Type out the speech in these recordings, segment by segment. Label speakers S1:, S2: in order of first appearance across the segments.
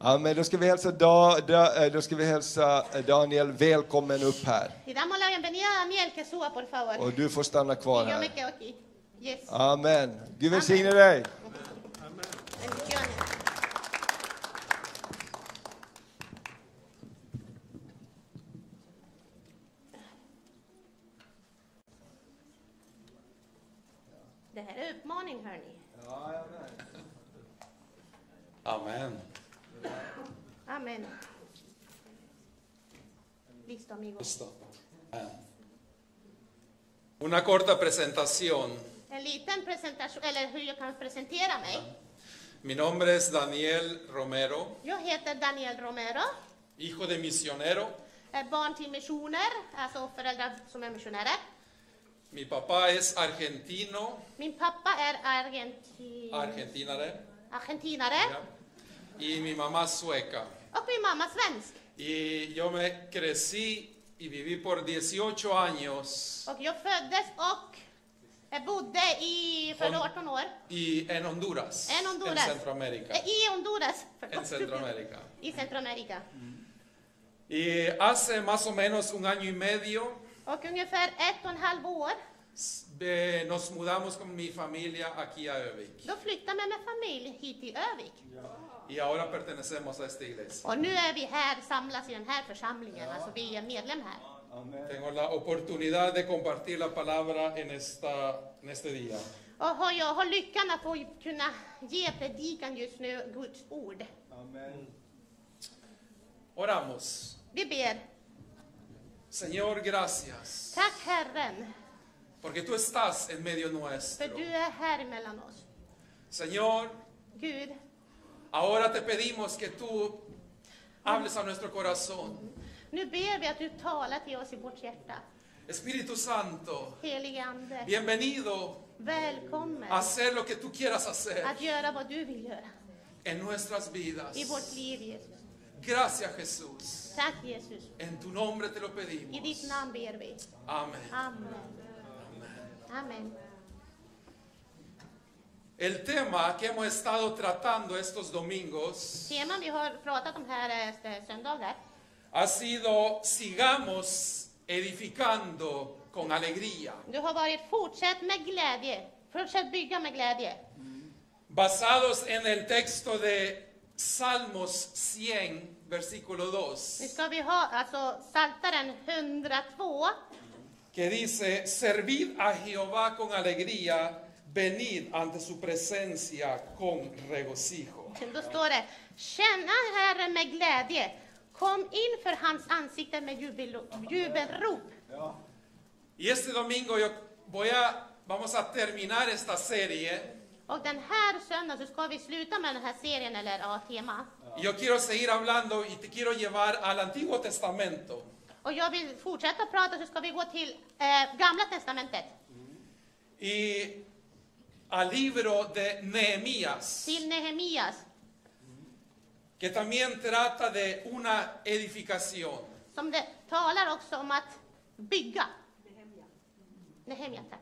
S1: Ja, men då ska vi hälsa, da, da, eh, då ska vi hälsa Daniel välkommen upp här.
S2: Y damos la bienvenida a Daniel que suba, por favor.
S1: Och du får stanna kvar
S2: Y yo me
S1: här.
S2: quedo aquí. Yes.
S1: Ah. Amen. Gud välsigne dig.
S2: Bendiciones. Det här är utmaning, hörni.
S3: Amen.
S2: Amen. Listo, amigos.
S3: Listo. Amen. Una corta presentación.
S2: En liten presentation, eller hur jag kan presentera mig.
S3: Mi nombre es Daniel Romero,
S2: Jag heter Daniel Romero,
S3: hijo de misionero.
S2: är barn till missioner, alltså föräldrar som är missionärer.
S3: Mi papá es argentino,
S2: Min pappa är argentin...
S3: argentinare,
S2: argentinare
S3: ya, y mi mamá sueca.
S2: och min mamma svensk.
S3: Y yo me crecí y viví por 18 años
S2: Och jag föddes och jag bodde i, för
S3: Hon-
S2: 18 år,
S3: y en Honduras,
S2: En Honduras.
S3: Centroamérica.
S2: eh, i Honduras.
S3: En Centroamérica.
S2: I Centroamerika.
S3: Y hace más o menos un año y medio
S2: Och ungefär ett och en halv år,
S3: Eh, nos mudamos con mi familia aquí a Övik
S2: då flyttade jag med familj hit till Övik.
S3: y ahora pertenecemos a esta iglesia.
S2: Och nu är vi här, samlas i den här församlingen, alltså vi är medlem här.
S3: Tengo la oportunidad de compartir la palabra en, esta, en este día.
S2: Och har jag har lyckan att få kunna ge predikan just nu Guds ord.
S3: Oramos.
S2: Vi ber,
S3: Señor, gracias,
S2: tack Herren,
S3: porque tú estás en medio
S2: för
S3: nuestro.
S2: du är här mellan oss.
S3: Señor,
S2: Gud,
S3: ahora te pedimos que tú hables a nuestro corazón.
S2: nu ber vi att du talar till oss i vårt hjärta.
S3: Espíritu Santo,
S2: Helige Ande,
S3: bienvenido
S2: välkommen
S3: a hacer lo que tú quieras hacer
S2: att göra vad du vill göra
S3: en nuestras vidas.
S2: i vårt liv, Jesus.
S3: Gracias, Jesús.
S2: Tack Jesus,
S3: En tu nombre te lo
S2: i
S3: pedimos.
S2: ditt namn ber vi.
S3: Amén.
S2: Amen. Amen.
S3: El tema que hemos estado tratando estos domingos
S2: Teman vi har pratat om här eh, söndagar
S3: ha sido sigamos edificando con alegría,
S2: Det har varit fortsätt med glädje. Fortsätt bygga med glädje.
S3: basados en el texto de Salmos 100, versículo
S2: Nu
S3: 2,
S2: ska vi ha alltså Psaltaren 102.
S3: que dice, servid a Jehová con alegría, venid ante su presencia con regocijo.
S2: Då står det Känna Herren med glädje. Kom in för hans ansikte med jubel, jubelrop.
S3: Y este domingo yo voy a, vamos a terminar esta serie
S2: Och den här söndagen så ska vi sluta med den här serien, eller ja, tema.
S3: Y Yo quiero seguir hablando y te quiero llevar al Antiguo Testamento.
S2: Och jag vill fortsätta prata så ska vi gå till eh, Gamla Testamentet,
S3: Y al libro de Nehemías,
S2: till Nehemias,
S3: que también trata de una edificación.
S2: som det talar också om att bygga. Nehemia, tack.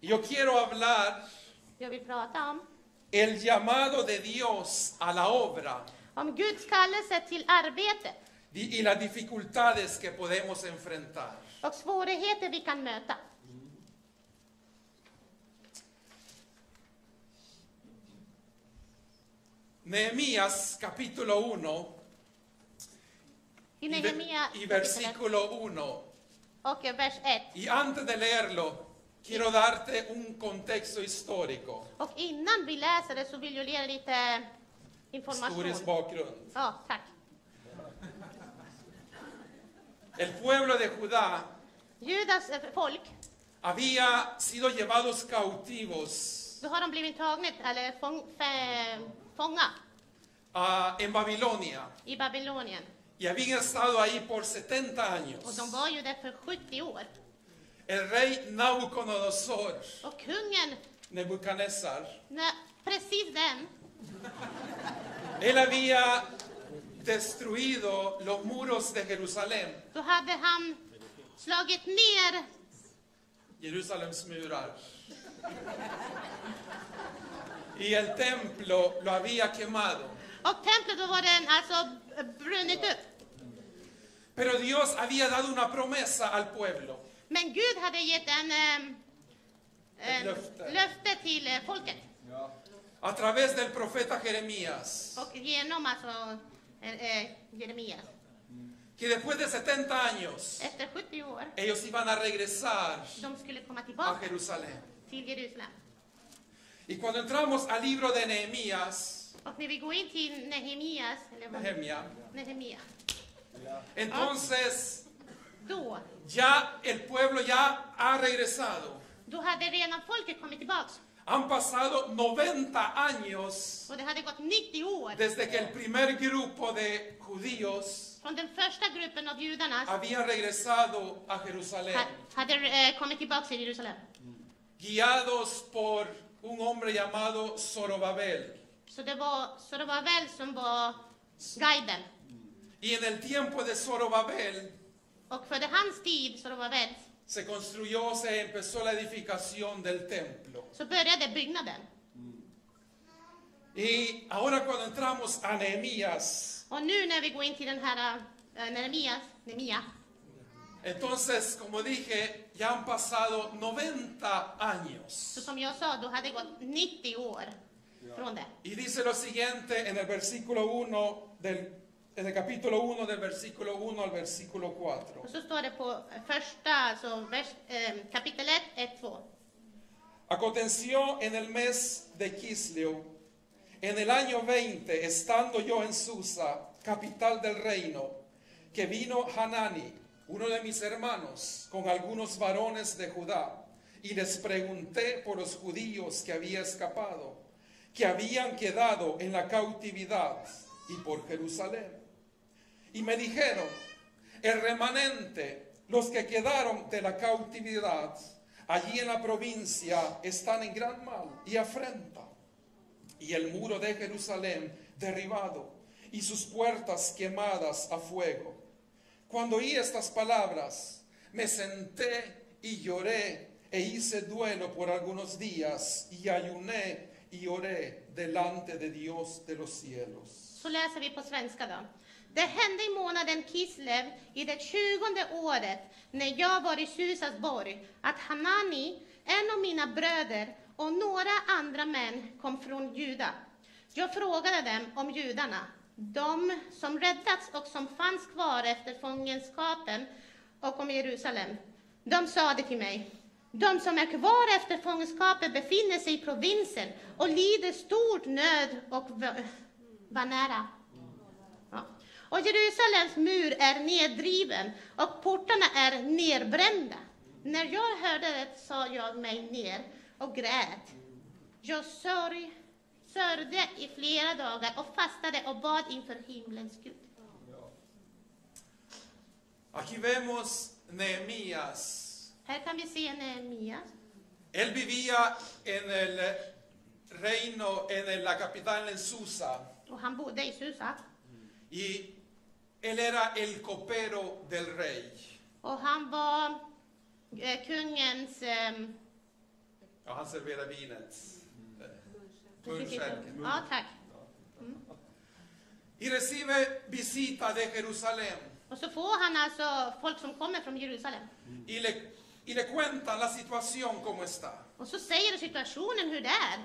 S3: Yo quiero hablar
S2: Jag vill prata om,
S3: el llamado de Dios a la obra
S2: om Guds kallelse till arbete
S3: y y las dificultades que podemos enfrentar.
S2: och svårigheter vi kan möta.
S3: Nehemías capítulo 1
S2: I
S3: y,
S2: Nehemia
S3: ve- y versículo 1.
S2: och vers 1.
S3: Y antes de leerlo, quiero darte un contexto histórico.
S2: Och innan vi läser det så vill jag ge er lite eh,
S3: historisk
S2: information.
S3: bakgrund.
S2: Ja, tack.
S3: El pueblo de Judá
S2: Judas eh, folk
S3: había sido llevados cautivos
S2: Då har de blivit tagna, eller fång, fä, fånga,
S3: ah, en Babilonia
S2: i Babylonien.
S3: y habían estado ahí por 70
S2: Och
S3: años.
S2: de var ju där för 70 år.
S3: El rey Nabucodonosor,
S2: Och kungen,
S3: Nebuchadnezzar,
S2: när, precis den,
S3: él había destruido los muros de Jerusalén,
S2: då hade han slagit ner,
S3: Jerusaléms murar. y el templo lo había quemado.
S2: Och templet då var den alltså brunnit upp.
S3: Pero Dios había dado una promesa al pueblo.
S2: Men Gud hade gett en, ehm, en
S3: löfte.
S2: löfte till eh, folket.
S3: A través del profeta Jeremías,
S2: Och genom alltså eh, eh, Jeremias.
S3: que después de 70 años,
S2: Efter 70 år,
S3: ellos iban a regresar
S2: de skulle komma
S3: a
S2: tillbaka
S3: Jerusalén.
S2: till Jerusalem.
S3: Y cuando entramos al libro de Nehemías,
S2: Och när vi går in till Nehemias, eller vad
S3: Nehemia,
S2: Nehemia,
S3: entonces
S2: då,
S3: ya el pueblo ya ha regresado.
S2: då hade redan folket kommit tillbaks.
S3: Han pasado 90 años
S2: Och det hade gått 90 år
S3: desde que el primer grupo de judíos
S2: från den första gruppen av judarna
S3: había regresado a Jerusalén,
S2: ha- hade eh, kommit tillbaks till Jerusalem.
S3: guiados por un hombre llamado Zorobabel.
S2: Så det var, så det var väl som var guiden.
S3: Y en el tiempo de Zorobabel
S2: Och för det hans tid, så det var väl,
S3: se construyó, se empezó la edificación del templo.
S2: så började byggnaden.
S3: Y ahora cuando entramos a Nehemías,
S2: Och nu när vi går in till den här eh, Nehemias, Nehemia,
S3: entonces, como dije, ya han pasado 90
S2: så
S3: años.
S2: som jag sa, då hade det gått 90 år från det.
S3: Y dice lo siguiente en el versículo 1 del en el capítulo 1 del versículo 1 al versículo 4.
S2: Och så står det på första, alltså vers, eh, kapitel 1, 1, 2.
S3: Aconteció en el mes de Quisleo, en el año 20, estando yo en Susa, capital del reino, que vino Hanani, uno de mis hermanos, con algunos varones de Judá, y les pregunté por los judíos que había escapado, que habían quedado en la cautividad y por Jerusalén. Y me dijeron, el remanente, los que quedaron de la cautividad, allí en la provincia están en gran mal y afrenta. Y el muro de Jerusalén derribado y sus puertas quemadas a fuego. Cuando oí estas palabras, me senté y lloré e hice duelo por algunos días y ayuné y oré delante de Dios de los cielos.
S2: Så läser vi på svenska då. Det hände i månaden Kislev i det tjugonde året när jag var i Susas borg att Hanani, en av mina bröder och några andra män kom från Juda. Jag frågade dem om judarna, de som räddats och som fanns kvar efter fångenskapen och om Jerusalem. De sade till mig, de som är kvar efter fångenskapen befinner sig i provinsen och lider stor nöd och vö- var nära. Ja. Och Jerusalems mur är nedriven och portarna är nerbrända. När jag hörde det sa jag mig ner och grät. Jag sörj, sörjde i flera dagar och fastade och bad inför himlens Gud.
S3: Aquí vemos Nehemías.
S2: Här kan vi se Nehemias.
S3: Él vivía en el reino, en el- la capital, en Susa,
S2: Och han bodde i Susa.
S3: y él era el copero del rey.
S2: Och han var eh, kungens... ehm,
S3: Ja, han serverade vinet. Munskänken.
S2: ja, tack.
S3: Y recibe visita de Jerusalén
S2: Och så får han alltså folk som kommer från Jerusalem.
S3: y le, y le cuentan la situación como está.
S2: Och så säger du situationen hur det är.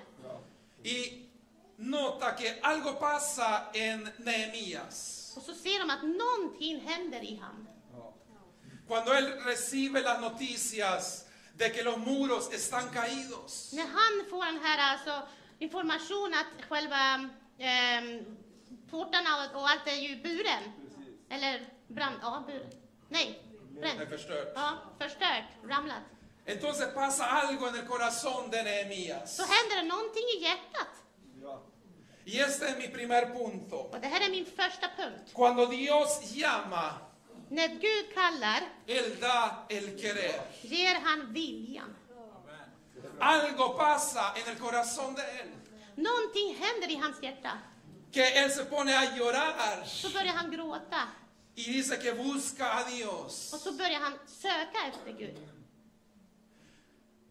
S3: Y nota que algo pasa en Nehemías.
S2: Och så ser de att någonting händer i han.
S3: Cuando él recibe las noticias de que los muros están caídos,
S2: När han får den här alltså, information att själva ehm, portarna och, och allt är ju buren. Eller brand... Ja, buren. Nej,
S3: me
S2: bränt.
S3: förstör.
S2: Ja, förstört, ramlat.
S3: Entonces pasa algo en el corazón de Nehemías.
S2: Så händer det någonting i hjärtat.
S3: Y este es mi primer punto.
S2: Och det här är min första punkt.
S3: Cuando Dios llama,
S2: När Gud kallar
S3: Él da el querer.
S2: ger han viljan.
S3: Algo pasa en el corazón de Él.
S2: Någonting händer i hans hjärta.
S3: Que Él se pone a llorar
S2: Så börjar han gråta.
S3: y dice que busca a Dios.
S2: Och så börjar han söka efter Gud.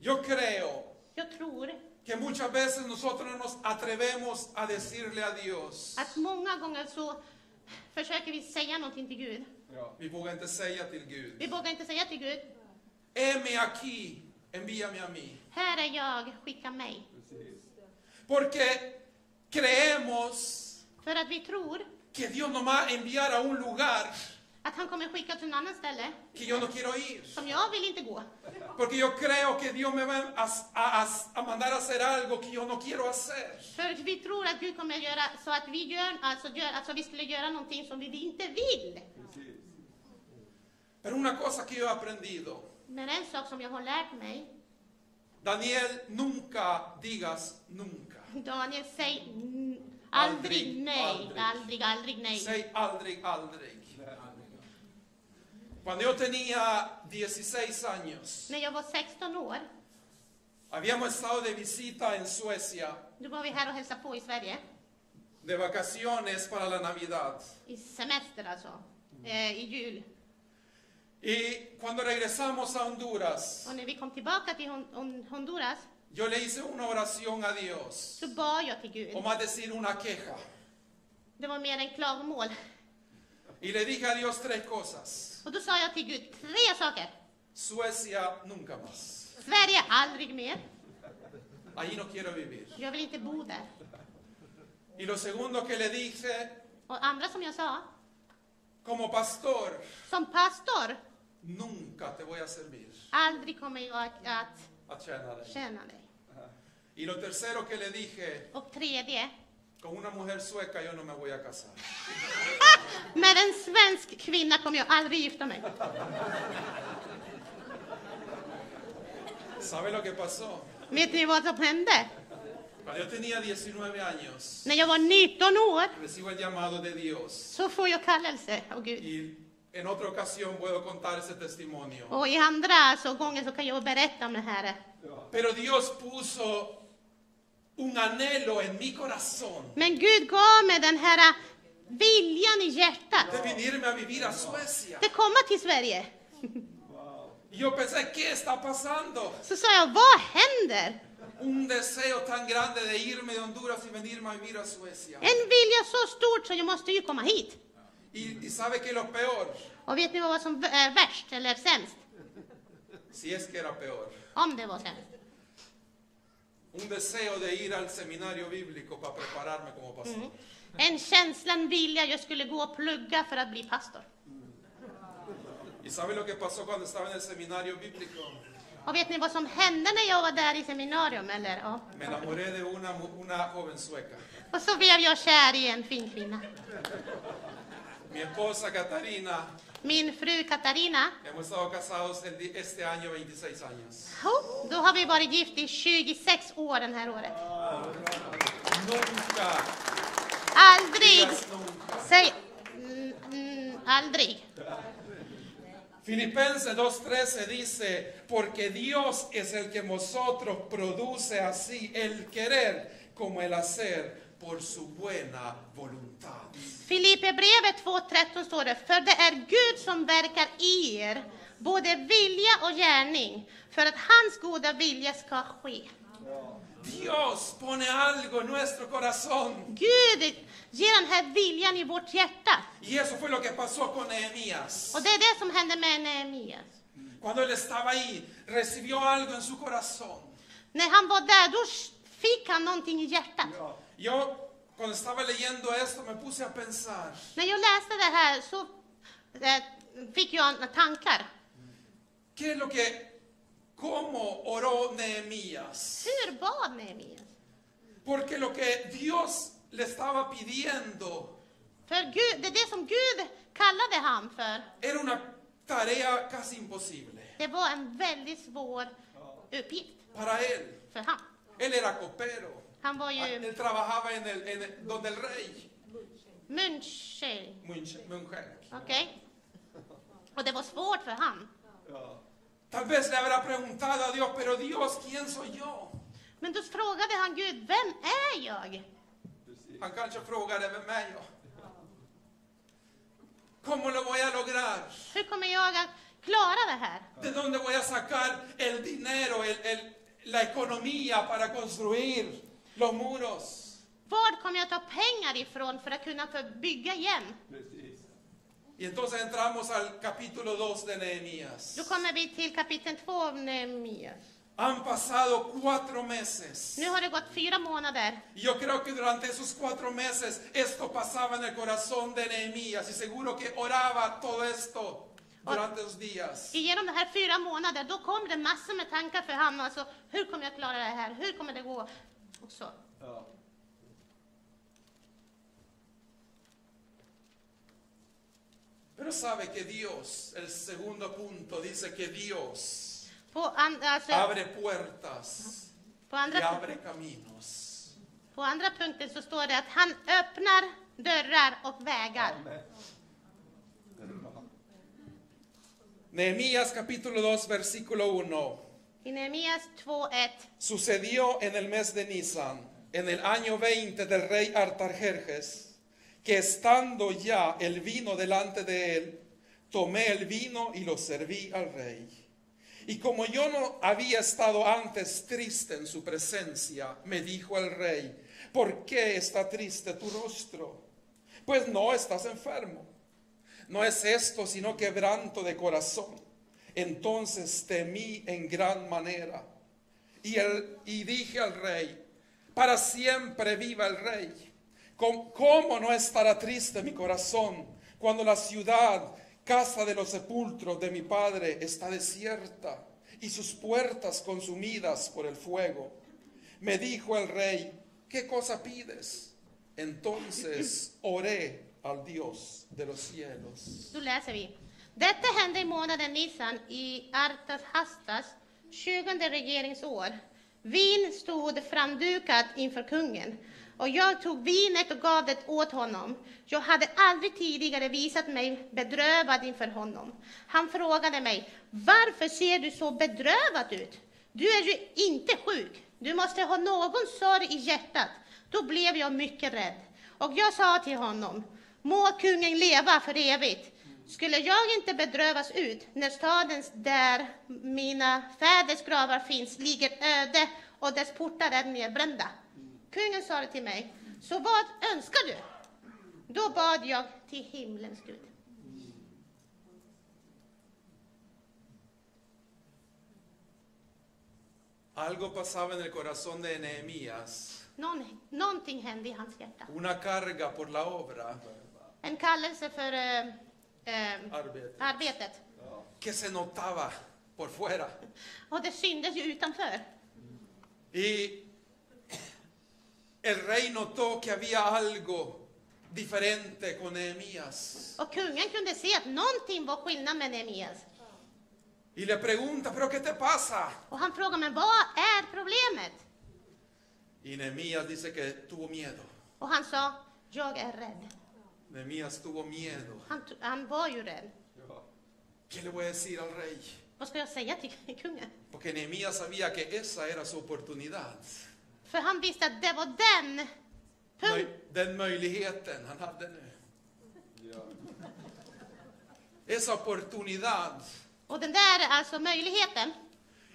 S3: Yo creo
S2: Jag tror
S3: que muchas veces nosotros no nos atrevemos a decirle a Dios.
S2: Att många gånger så försöker vi säga någonting till Gud.
S3: Ja, vi vågar inte säga till Gud,
S2: Vi vågar inte säga till Gud,
S3: heme aquí, envíame a mí.
S2: här är jag, skicka mig.
S3: Porque creemos
S2: För att vi tror
S3: que Dios nos va a enviar a un lugar
S2: att han kommer skicka till en annan ställe
S3: que yo no quiero ir.
S2: som jag vill inte gå.
S3: Porque yo creo que Dios me va a, a- a- a mandar a hacer algo que yo no quiero hacer.
S2: För vi tror att Gud kommer göra så att vi, gör, alltså, gör, alltså, vi skulle göra någonting som vi inte vill.
S3: Pero una cosa que yo he aprendido,
S2: Men en sak som jag har lärt mig,
S3: Daniel, nunca digas nunca.
S2: Daniel, säg n- aldrig,
S3: Aldrig,
S2: nej,
S3: aldrig.
S2: aldrig, aldrig, nej.
S3: Say aldrig, aldrig. Cuando yo tenía 16 años,
S2: När jag var 16 år,
S3: habíamos estado de visita en Suecia,
S2: då var vi här och hälsade på i Sverige,
S3: de vacaciones para la Navidad.
S2: i semester alltså, eh, i jul.
S3: Y cuando regresamos a Honduras,
S2: Och när vi kom tillbaka till Hon- Hon- Honduras
S3: yo le hice una oración a Dios,
S2: så bad jag till Gud.
S3: o más decir, una queja.
S2: Det var mer en klagomål.
S3: Y le dije a Dios tres cosas.
S2: Och då sa jag till Gud tre saker.
S3: Suecia nunca más.
S2: Sverige, aldrig mer.
S3: Allí no quiero vivir.
S2: Jag vill inte bo där.
S3: Y lo segundo que le dije,
S2: Och andra som jag sa,
S3: como pastor,
S2: som pastor,
S3: nunca te voy a servir
S2: aldrig kommer jag att, att
S3: a China.
S2: tjäna dig.
S3: Y lo tercero que le dije,
S2: Och tredje,
S3: con una mujer sueca yo no me voy a casar.
S2: med en svensk kvinna kommer jag aldrig gifta mig.
S3: ¿Sabe lo que pasó?
S2: Vet ni vad som hände?
S3: Cuando yo tenía 19 años,
S2: När jag var 19 år
S3: recibo el llamado de Dios.
S2: så får jag kallelse av Gud.
S3: Y en otra ocasión puedo contar ese testimonio.
S2: Och i andra alltså, gången så kan jag berätta om det här.
S3: Pero Dios puso un anhelo en mi corazón
S2: Men Gud gav mig den här äh, viljan i
S3: de
S2: hjärtat.
S3: venirme a vivir a Suecia.
S2: Det komma till Sverige.
S3: Y yo pensé, ¿qué está pasando?
S2: Så sa jag, vad händer?
S3: Un deseo tan grande de irme de Honduras y venirme a vivir a Suecia.
S2: En vilja så stort så jag måste ju komma hit.
S3: Y, y sabe que lo peor,
S2: Och vet ni vad som är värst eller sämst?
S3: si es que era peor,
S2: Om det var sämst.
S3: un deseo de ir al seminario bíblico para prepararme como pastor.
S2: En känslan vilja jag skulle gå och plugga för att bli pastor.
S3: ¿Y sabe lo que pasó cuando estaba en el seminario bíblico?
S2: Och vet ni vad som hände när jag var där i seminarium? Eller? Ja.
S3: Me enamoré de una, mu- una joven sueca.
S2: Och så blev jag kär i en fin kvinna.
S3: Mi esposa Catarina,
S2: Min fru Katarina,
S3: hemos estado casados el di- este año 26 años.
S2: ho, då har vi varit gift i 26 år den här året.
S3: Nunca,
S2: Aldrig,
S3: digas nunca.
S2: säg, mm, mm, aldrig.
S3: Filipenses 2.13 dice, porque Dios es el que en vosotros produce así el querer como el hacer por su buena voluntad.
S2: Filipperbrevet 2.13 står det, för det är Gud som verkar i er, både vilja och gärning, för att hans goda vilja ska ske.
S3: Dios pone algo en nuestro corazón.
S2: Gud ger den här viljan i vårt hjärta.
S3: Y eso fue lo que pasó con Nehemías.
S2: Och det är det som hände med Nehemias.
S3: Cuando él estaba ahí, recibió algo en su corazón.
S2: När han var där, då fick han någonting i hjärtat.
S3: Yo, cuando estaba leyendo esto, me puse a pensar,
S2: När jag läste det här så eh, fick jag några tankar.
S3: ¿qué es lo que, cómo oró Nehemías?
S2: Hur bad Nehemias?
S3: Porque lo que Dios le estaba pidiendo
S2: För Gud, det är det som Gud kallade han för.
S3: era una tarea casi imposible
S2: Det var en väldigt svår uppgift
S3: para él.
S2: för han.
S3: Él era copero.
S2: Han var
S3: Ah,
S2: ju
S3: Él trabajaba en el, en el- donde el rey.
S2: München,
S3: Munch- Munchak.
S2: okej? Och det var svårt för han.
S3: Tal vez le habrá preguntado a Dios, pero Dios, ¿quién soy yo?
S2: Men då frågade han Gud, vem är jag?
S3: Han kanske frågade, vem är jag? ¿Cómo lo voy a lograr?
S2: Hur kommer jag att klara det här?
S3: ¿De dónde voy a sacar el dinero, el, el- la economía para construir los muros.
S2: Var kommer jag ta pengar ifrån för att kunna för- bygga igen?
S3: Y entonces entramos al capítulo 2 de Nehemías.
S2: Då kommer vi till kapitel 2 av Nehemias.
S3: Han pasado cuatro meses.
S2: Nu har det gått fyra månader.
S3: Y yo creo que durante esos cuatro meses esto pasaba en el corazón de Nehemías y seguro que oraba todo esto durante los días.
S2: Genom de här fyra månaderna, då kom det massor med tankar för honom. Alltså, hur kommer jag klara det här? Hur kommer det gå? Och så.
S1: Ja.
S3: Pero sabe que Dios, el segundo punto, dice que Dios
S2: På, an, alltså,
S3: abre puertas
S2: på,
S3: y
S2: andra,
S3: abre caminos.
S2: på andra punkten så står det att han öppnar dörrar och vägar.
S3: Nehemías capítulo 2, versículo 1.
S2: I Nehemias 2.1.
S3: Sucedió en el mes de Nisan, en el año 20 del rey Artajerjes, que estando ya el vino delante de él, tomé el vino y lo serví al rey. Y como yo no había estado antes triste en su presencia, me dijo el rey, ¿por qué está triste tu rostro? Pues no estás enfermo. No es esto sino quebranto de corazón. Entonces temí en gran manera. Y, el- y dije al rey, para siempre viva el rey. Com- ¿Cómo no estará triste mi corazón cuando la ciudad, casa de los sepulcros de mi padre, está desierta y sus puertas consumidas por el fuego? Me dijo el rey, ¿qué cosa pides? Entonces oré al Dios de los cielos.
S2: Då läser vi. Detta hände i månaden Nisan i Artashastas 20 regeringsår. Vin stod framdukat inför kungen och jag tog vinet och gav det åt honom. Jag hade aldrig tidigare visat mig bedrövad inför honom. Han frågade mig, varför ser du så bedrövad ut? Du är ju inte sjuk. Du måste ha någon sorg i hjärtat. Då blev jag mycket rädd. Och jag sa till honom, må kungen leva för evigt. Skulle jag inte bedrövas ut när staden där mina fäders gravar finns ligger öde och dess portar är nedbrända? Kungen sa det till mig, så vad önskar du? Då bad jag till himlens Gud.
S3: Algo pasaba en el corazón de Nehemías,
S2: Någon, någonting hände i hans hjärta.
S3: una carga por la obra
S2: En kallelse för eh, eh,
S3: Arbete.
S2: arbetet.
S3: que se notaba por fuera.
S2: Och det syndes ju utanför.
S3: Y el rey notó que había algo diferente con Nehemías.
S2: Och kungen kunde se att någonting var skillnad med Nehemias.
S3: Y le pregunta, ¿pero qué te pasa?
S2: Och han frågar, men vad är problemet?
S3: Y Nehemías dice que tuvo miedo.
S2: Och han sa, jag är rädd.
S3: Nehemías tuvo miedo.
S2: Han, t- han var ju rädd.
S3: ¿Qué le voy a decir al rey?
S2: Vad ska jag säga till kungen?
S3: Porque Nehemías sabía que esa era su oportunidad.
S2: För han visste att det var den punkt.
S3: Möj- Den möjligheten han hade nu. Esa oportunidad.
S2: Och den där är alltså möjligheten.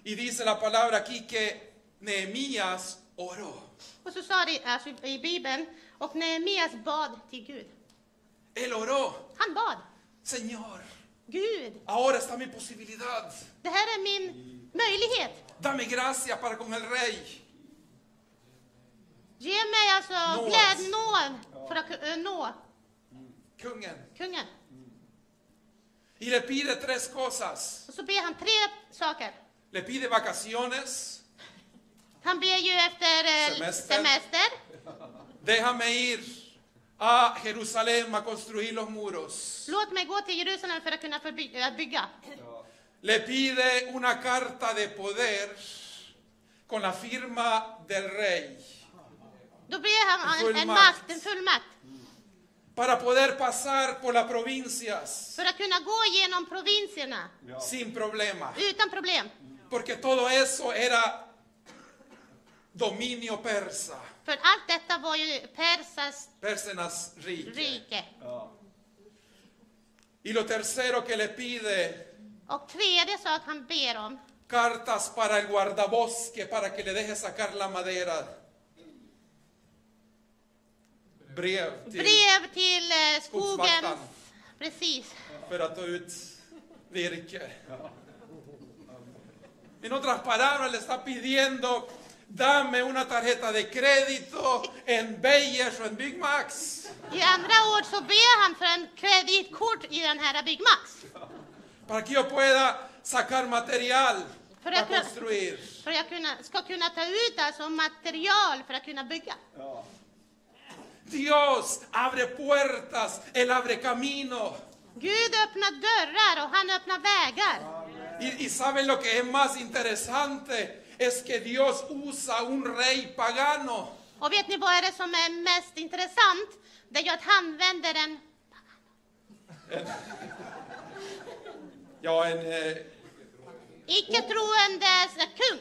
S3: Y dice la palabra aquí que Nehemías oró.
S2: Och så sa det alltså, i Bibeln, och Nehemias bad till Gud.
S3: Él oró.
S2: Han bad.
S3: Señor,
S2: Gud,
S3: ahora está mi posibilidad.
S2: det här är min möjlighet.
S3: Dame gracia para con el rey.
S2: Ge mig alltså
S3: Nåd.
S2: glädjenåd för att ku- eh, nå
S3: Kungen.
S2: kungen.
S3: Y le pide tres cosas.
S2: Och så ber han tre saker.
S3: Le pide vacaciones.
S2: Han ber ju efter eh,
S3: Semester.
S2: semester.
S3: Déjame ir a Jerusalén a construir los muros.
S2: Låt mig gå till Jerusalem för att kunna förby- eh, bygga.
S3: Le pide una carta de poder con la firma del rey
S2: Då blir han en, en
S3: Fullmakt.
S2: makt, en fullmakt,
S3: para poder pasar por las provincias
S2: för att kunna gå genom provinserna
S3: sin problema.
S2: utan problem.
S3: Porque todo eso era dominio persa,
S2: För allt detta var ju Persas
S3: persenas rike.
S2: rike.
S3: Y lo tercero que le pide
S2: Och tredje sak han ber om,
S3: cartas para el guardabosque para que le deje sacar la madera. Brev till
S2: Brev till eh, skogen.
S3: Skogsvaktan.
S2: Precis.
S3: för att ta ut virke. En otras palabras, le está pidiendo, dame una tarjeta de crédito en Beyers o en Big Max
S2: I andra ord så ber han för en kreditkort i den här Byggmax.
S3: para que yo pueda sacar material
S2: Pero
S3: para
S2: creo-
S3: construir.
S2: För jag kunna, ska kunna ta ut alltså material för att kunna bygga.
S3: Dios abre puertas, Él abre camino.
S2: Gud öppnar dörrar och han öppnar vägar.
S3: Y, y saben lo que es más interesante, es que Dios usa un rey pagano.
S2: Och vet ni vad är det som är mest intressant? Det är ju att han använder en...
S3: Ja, en, eh,
S2: Icke troende kung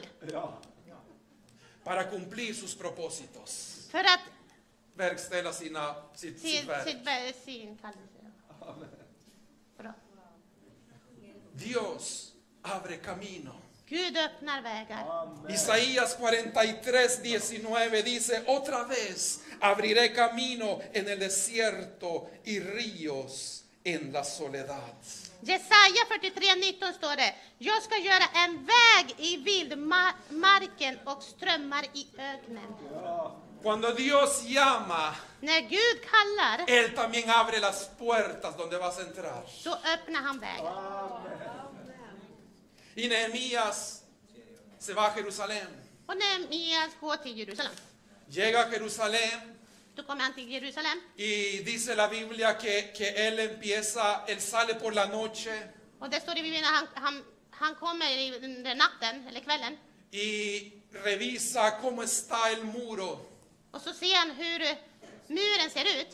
S3: para cumplir sus propósitos.
S2: för att
S3: verkställa sina, sitt, sitt
S2: till
S3: verk.
S2: sitt be- sin kallelse. Bra.
S3: Dios abre camino.
S2: Gud öppnar vägar.
S3: Isaías 43, 19 dice, otra vez abriré camino en el desierto y ríos en la soledad.
S2: Jesaja 43.19 står det. Jag ska göra en väg i vildmarken och strömmar i öknen.
S3: Cuando Dios llama,
S2: När Gud kallar,
S3: Él también abre las puertas donde vas a entrar.
S2: då öppnar han vägen.
S3: Y Nehemías se va a Jerusalén.
S2: Och Nehemias går till Jerusalem.
S3: Llega a Jerusalén,
S2: Då kommer han till Jerusalem.
S3: Y dice la Biblia que, que él empieza, él sale por la noche
S2: Och det står i Bibeln att han, han, han kommer i- under natten, eller kvällen.
S3: y revisa cómo está el muro,
S2: Och så ser han hur muren ser ut.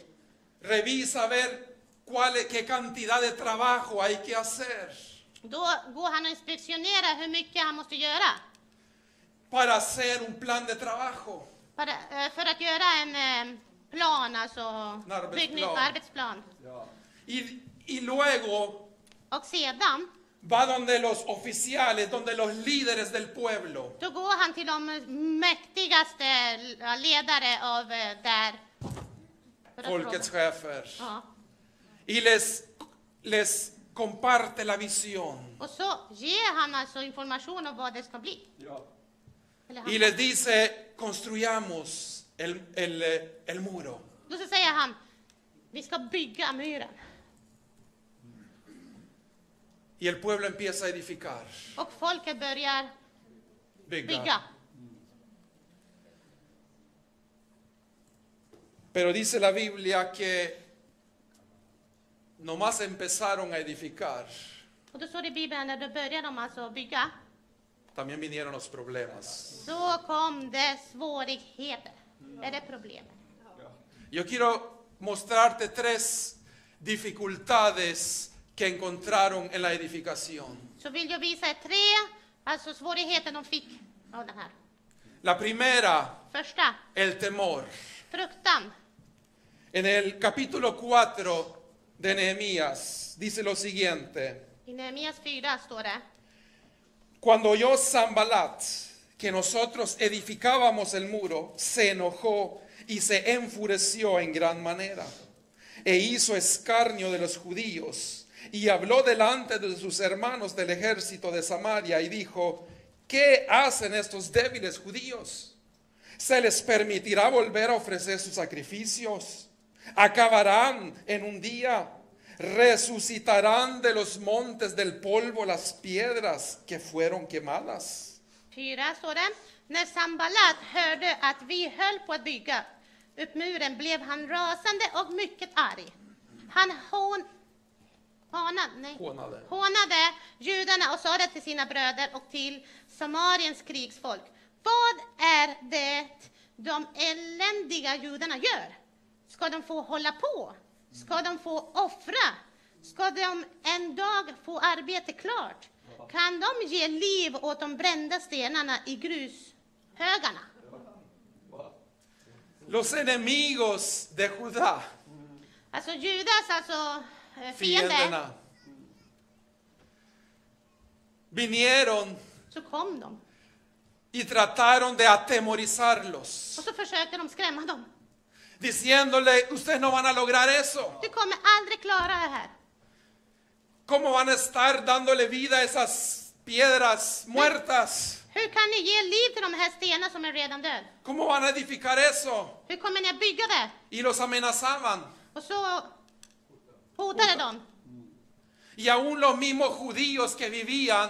S3: revisa a ver cuál, es- qué cantidad de trabajo hay que hacer
S2: Då går han och inspektionerar hur mycket han måste göra
S3: para hacer un plan de trabajo.
S2: för, eh, för att göra en eh, plan, alltså
S3: arbetsplan.
S2: byggning- arbetsplan.
S3: Y, y luego
S2: Och sedan,
S3: va donde los oficiales, donde los líderes del pueblo.
S2: då går han till de mäktigaste ja, ledare av eh, där. för att
S3: Folkets
S2: fråga.
S3: chefer.
S2: Ja.
S3: Y les, les comparte la visión.
S2: Och så ger han alltså information om vad det ska bli. Eller han.
S3: Y les dice, construyamos el, el, eh, el muro.
S2: Då så säger han, vi ska bygga muren.
S3: Y el pueblo empieza a edificar.
S2: Och folket börjar
S3: Big Bang.
S2: bygga.
S3: Pero dice la Biblia que nomás empezaron a edificar,
S2: Och då står det i Bibeln, när då börjar de alltså bygga,
S3: también vinieron los problemas.
S2: så kom det svårigheter. Är det problemet?
S3: Yo quiero mostrarte tres dificultades que encontraron en la edificación.
S2: Så vill jag visa er tre alltså svårigheter de fick av den här.
S3: La primera,
S2: Första,
S3: el temor.
S2: fruktan.
S3: En el capítulo 4 de Nehemías dice lo siguiente.
S2: I Nehemias 4 står det.
S3: Cuando oyó Zambalat que nosotros edificábamos el muro, se enojó y se enfureció en gran manera e hizo escarnio de los judíos y habló delante de sus hermanos del ejército de Samaria y dijo, ¿qué hacen estos débiles judíos? ¿Se les permitirá volver a ofrecer sus sacrificios? ¿Acabarán en un día? ¿Resucitarán de los montes del polvo las piedras que fueron quemadas?
S2: Fyra står det. När Sambalat hörde att vi höll på att bygga upp muren blev han rasande och mycket arg. Han hån, hånad, nej,
S3: Hånade.
S2: hånade judarna och sa det till sina bröder och till Samariens krigsfolk. Vad är det de eländiga judarna gör? Ska de få hålla på? Ska de få offra? Ska de en dag få arbete klart? Kan de ge liv åt de brända stenarna i grushögarna?
S3: Los enemigos de Judá,
S2: Alltså Judas, alltså eh, fiender,
S3: fienderna, vinieron
S2: så kom de.
S3: y trataron de atemorizarlos,
S2: Och så försökte de skrämma dem.
S3: diciéndole, ustedes no van a lograr eso.
S2: Du kommer aldrig klara det här.
S3: ¿Cómo van a estar dándole vida a esas piedras muertas?
S2: Hur kan ni ge liv till de här stenarna som är redan död?
S3: ¿Cómo van a edificar eso?
S2: Hur kommer ni att bygga det?
S3: Y los amenazaban.
S2: Och så hotade de.
S3: Y aún los mismos judíos que vivían,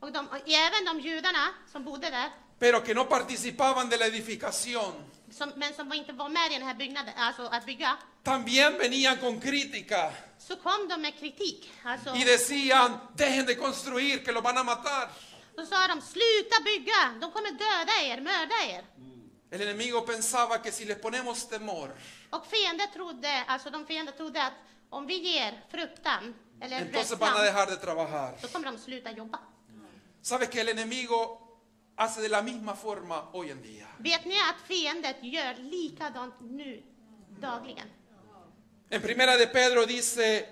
S2: Och, de, och även de judarna som bodde där,
S3: pero que no participaban de la edificación,
S2: som, men som inte var med i den här byggnaden, alltså att bygga,
S3: también venían con crítica
S2: så kom de med kritik. Alltså,
S3: y decían, dejen de construir, que los van a matar.
S2: då sa de, sluta bygga, de kommer döda er, mörda er.
S3: El enemigo pensaba que si les ponemos temor,
S2: Och fienden trodde, alltså de fienden trodde att om vi ger fruktan, eller
S3: entonces van a
S2: rädslan,
S3: dejar de trabajar.
S2: då kommer de sluta jobba.
S3: Sabes que el enemigo hace de la misma forma hoy en día.
S2: Vet ni att fiendet gör likadant nu, dagligen?
S3: En primera de Pedro dice,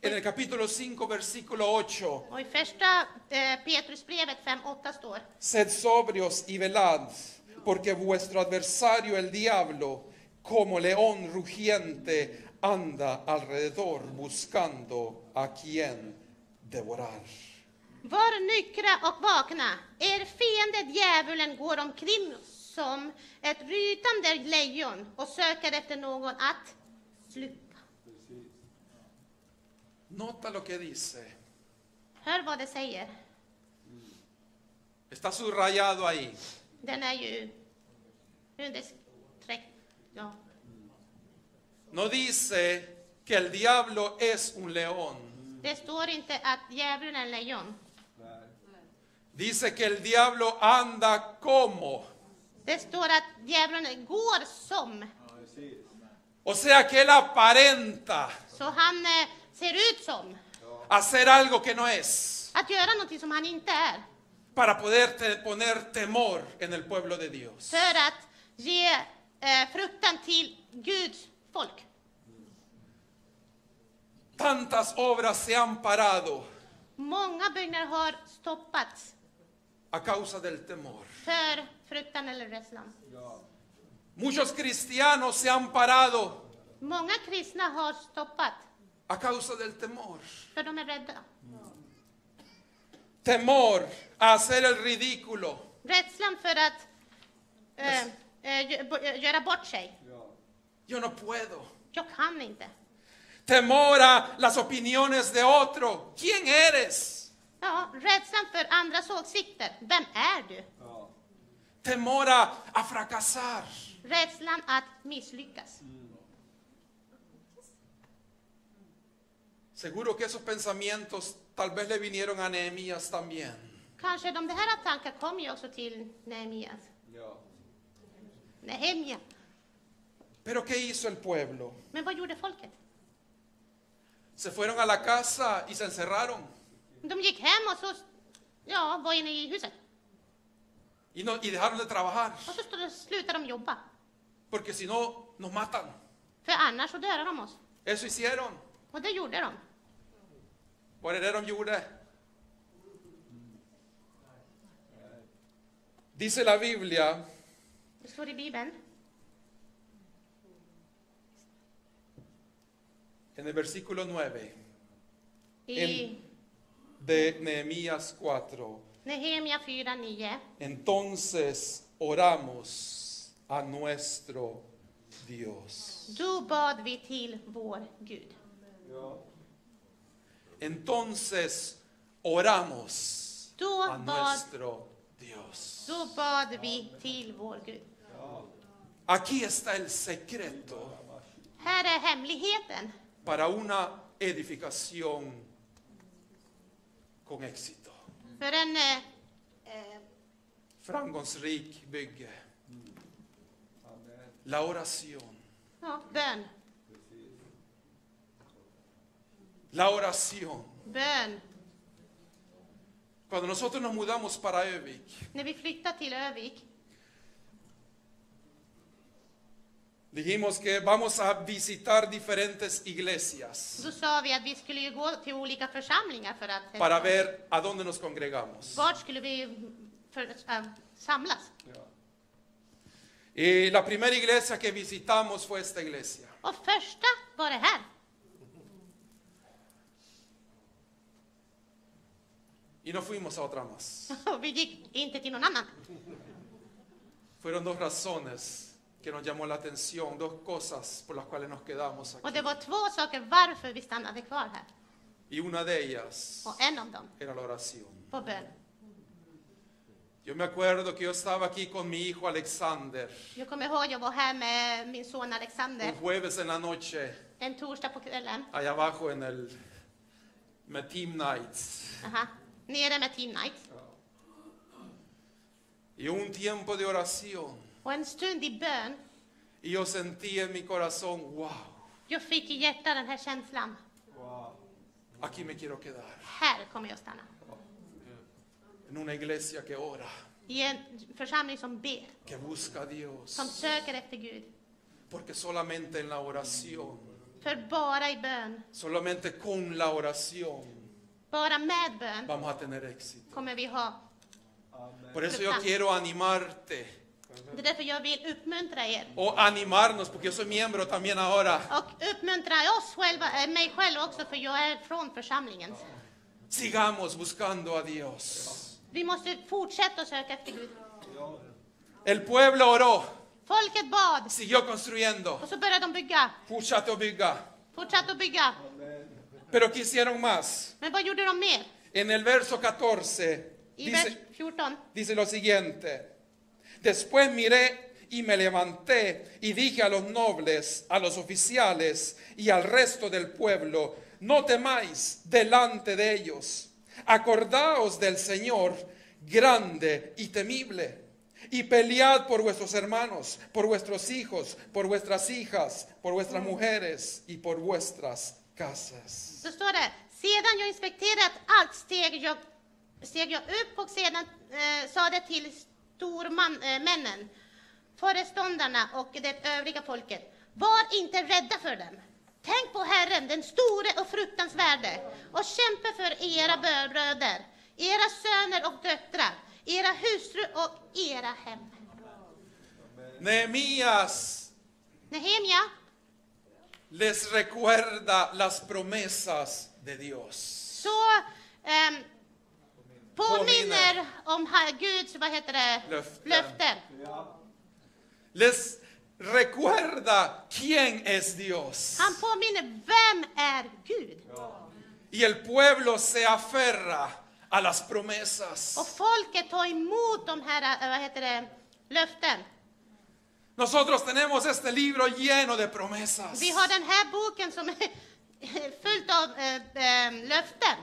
S3: en el capítulo 5, versículo 8,
S2: Och i första eh, Petrusbrevet 5.8 står,
S3: Sed sobrios y velad, porque vuestro adversario el diablo, como león rugiente, anda alrededor buscando a quien devorar.
S2: Var nyktra och vakna. Er fiende djävulen går omkring som ett rytande lejon och söker efter någon att sluta.
S3: Nota lo que dice,
S2: Hör vad det säger.
S3: está subrayado ahí.
S2: Den är ju understreck. Ja.
S3: No dice que el diablo es un león,
S2: Det står inte att djävulen är en lejon.
S3: dice que el diablo anda como.
S2: Det står att djävulen går som.
S3: O sea que él aparenta
S2: Så han eh, ser ut som.
S3: hacer algo que no es
S2: Att göra någonting som han inte är.
S3: para poder te- poner temor en el pueblo de Dios.
S2: För att ge eh, fruktan till Guds folk.
S3: Tantas obras se han parado
S2: Många byggnader har stoppats
S3: a causa del temor.
S2: för fruktan eller rädslan.
S3: Muchos cristianos se han parado
S2: Många kristna har stoppat
S3: a causa del temor.
S2: för de är rädda.
S3: Temor a hacer el ridículo.
S2: Rädslan för att eh, eh, gö- bo- eh, göra bort sig.
S3: Yo no puedo.
S2: Jag kan inte.
S3: Temor a las opiniones de otro. ¿Quién eres?
S2: Ja, rädslan för andras åsikter. Vem är du?
S3: Temor a, a fracasar.
S2: Rädslan att misslyckas.
S3: Seguro que esos pensamientos tal vez le vinieron a Nehemías también.
S2: Kanske de det här tankarna kom ju också till Nehemias. Nehemia.
S3: Pero ¿qué hizo el pueblo?
S2: Men vad gjorde folket?
S3: Se fueron a la casa y se encerraron.
S2: De gick hem och så ja, var inne i huset.
S3: Y, no, y dejaron de trabajar.
S2: Och så stod- slutade de jobba.
S3: Porque si no, nos matan.
S2: För annars så dödar de oss.
S3: Eso hicieron.
S2: Och det gjorde de.
S3: Vad är det de gjorde? Dice la Biblia
S2: Det står i Bibeln.
S3: en el versículo 9
S2: I
S3: de Nehemías 4.
S2: Nehemia 4, 9.
S3: Entonces oramos a nuestro Dios.
S2: Då bad vi till vår Gud.
S3: Entonces oramos
S2: Då
S3: a
S2: bad,
S3: nuestro Dios.
S2: då bad vi till vår Gud.
S3: Aquí está el secreto
S2: Här är hemligheten
S3: para una edificación con éxito.
S2: för en eh,
S3: framgångsrik bygge. La oración.
S2: ja, bön.
S3: La oración.
S2: bön.
S3: Cuando nosotros nos mudamos para Övik,
S2: När vi flyttade till Övik
S3: Dijimos que vamos a visitar diferentes iglesias
S2: Då sa vi att vi skulle ju gå till olika församlingar för att...
S3: para ver a dónde nos congregamos.
S2: Vart skulle vi för, eh, samlas?
S3: Y la primera iglesia que visitamos fue esta iglesia.
S2: Och första var det här.
S3: Y no fuimos a otra más.
S2: Och vi gick inte till någon annan.
S3: Fueron dos razones que nos llamó la atención, dos cosas por las cuales nos quedamos
S2: Och
S3: aquí.
S2: det var två saker varför vi stannade kvar här.
S3: Y una de ellas
S2: Och en av dem
S3: era la oración.
S2: var bön.
S3: Yo me acuerdo que yo estaba aquí con mi hijo Alexander
S2: Jag kommer ihåg, jag var här med min son Alexander
S3: un jueves en la noche,
S2: en torsdag på kvällen.
S3: allá abajo en el med Team Nights.
S2: Aha. Nere med Team Night.
S3: Y un tiempo de oración.
S2: Och en stund i bön,
S3: Y yo sentí en mi corazón, wow,
S2: jag fick i hjärtat den här känslan.
S3: aquí me quiero quedar.
S2: Här kommer jag stanna.
S3: En una iglesia que ora,
S2: I en församling som ber,
S3: que busca a Dios.
S2: som söker efter Gud.
S3: Porque solamente en la oración
S2: För bara i bön,
S3: Solamente con la oración
S2: bara med bön,
S3: vamos a tener éxito.
S2: kommer vi ha.
S3: Por eso yo quiero animarte
S2: Det är därför jag vill uppmuntra er.
S3: o animarnos, porque yo soy miembro también ahora.
S2: Och uppmuntra oss själva, eh, mig själv också, för jag är från församlingen.
S3: Sigamos buscando a Dios.
S2: Vi måste fortsätta att söka efter Gud.
S3: El pueblo oró,
S2: Folket bad,
S3: siguió construyendo.
S2: och så började de bygga.
S3: Puchato biga.
S2: Fortsatte att bygga.
S3: Pero quisieron más.
S2: Men vad gjorde de mer?
S3: En el verso 14
S2: I vers
S3: dice,
S2: 14.
S3: dice lo siguiente. Después miré y me levanté y dije a los nobles, a los oficiales y al resto del pueblo, no temáis delante de ellos, acordaos del Señor grande y temible, y pelead por vuestros hermanos, por vuestros hijos, por vuestras hijas, por vuestras mujeres y por vuestras casas.
S2: Så står det, sedan jag inspekterat allt steg jag, steg jag upp och sedan eh, sade till stormännen, eh, föreståndarna och det övriga folket, var inte rädda för dem. Tänk på Herren, den store och fruktansvärde, och kämpa för era bröder, era söner och döttrar, era hustru och era hem.
S3: Nehemías
S2: Nehemja,
S3: les recuerda las promesas de Dios.
S2: så ehm, påminner om ha- Guds, vad heter det,
S3: Löften.
S2: löften.
S3: Les recuerda quién es Dios.
S2: Han påminner, vem är Gud?
S3: Y el pueblo se aferra a las promesas.
S2: Och folket tar emot de här, eh, vad heter det, löften.
S3: Nosotros tenemos este libro lleno de promesas.
S2: Vi har den här boken som är fullt av eh, eh, löften.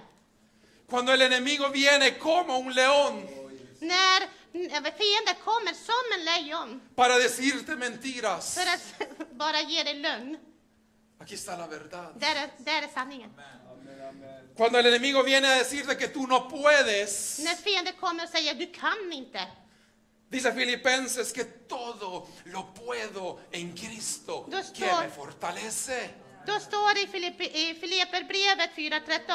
S3: Cuando el enemigo viene como un león
S2: När eh, fienden kommer som en lejon
S3: para decirte mentiras,
S2: för att bara ge dig lögn,
S3: aquí está la verdad.
S2: där är, där är sanningen.
S3: Cuando el enemigo viene a decirte que tú no puedes,
S2: När fienden kommer och säger du kan inte,
S3: dice Filipenses que todo lo puedo en Cristo
S2: Då står-
S3: que me fortalece.
S2: Då står det i Filipp- i Filipperbrevet 4.13.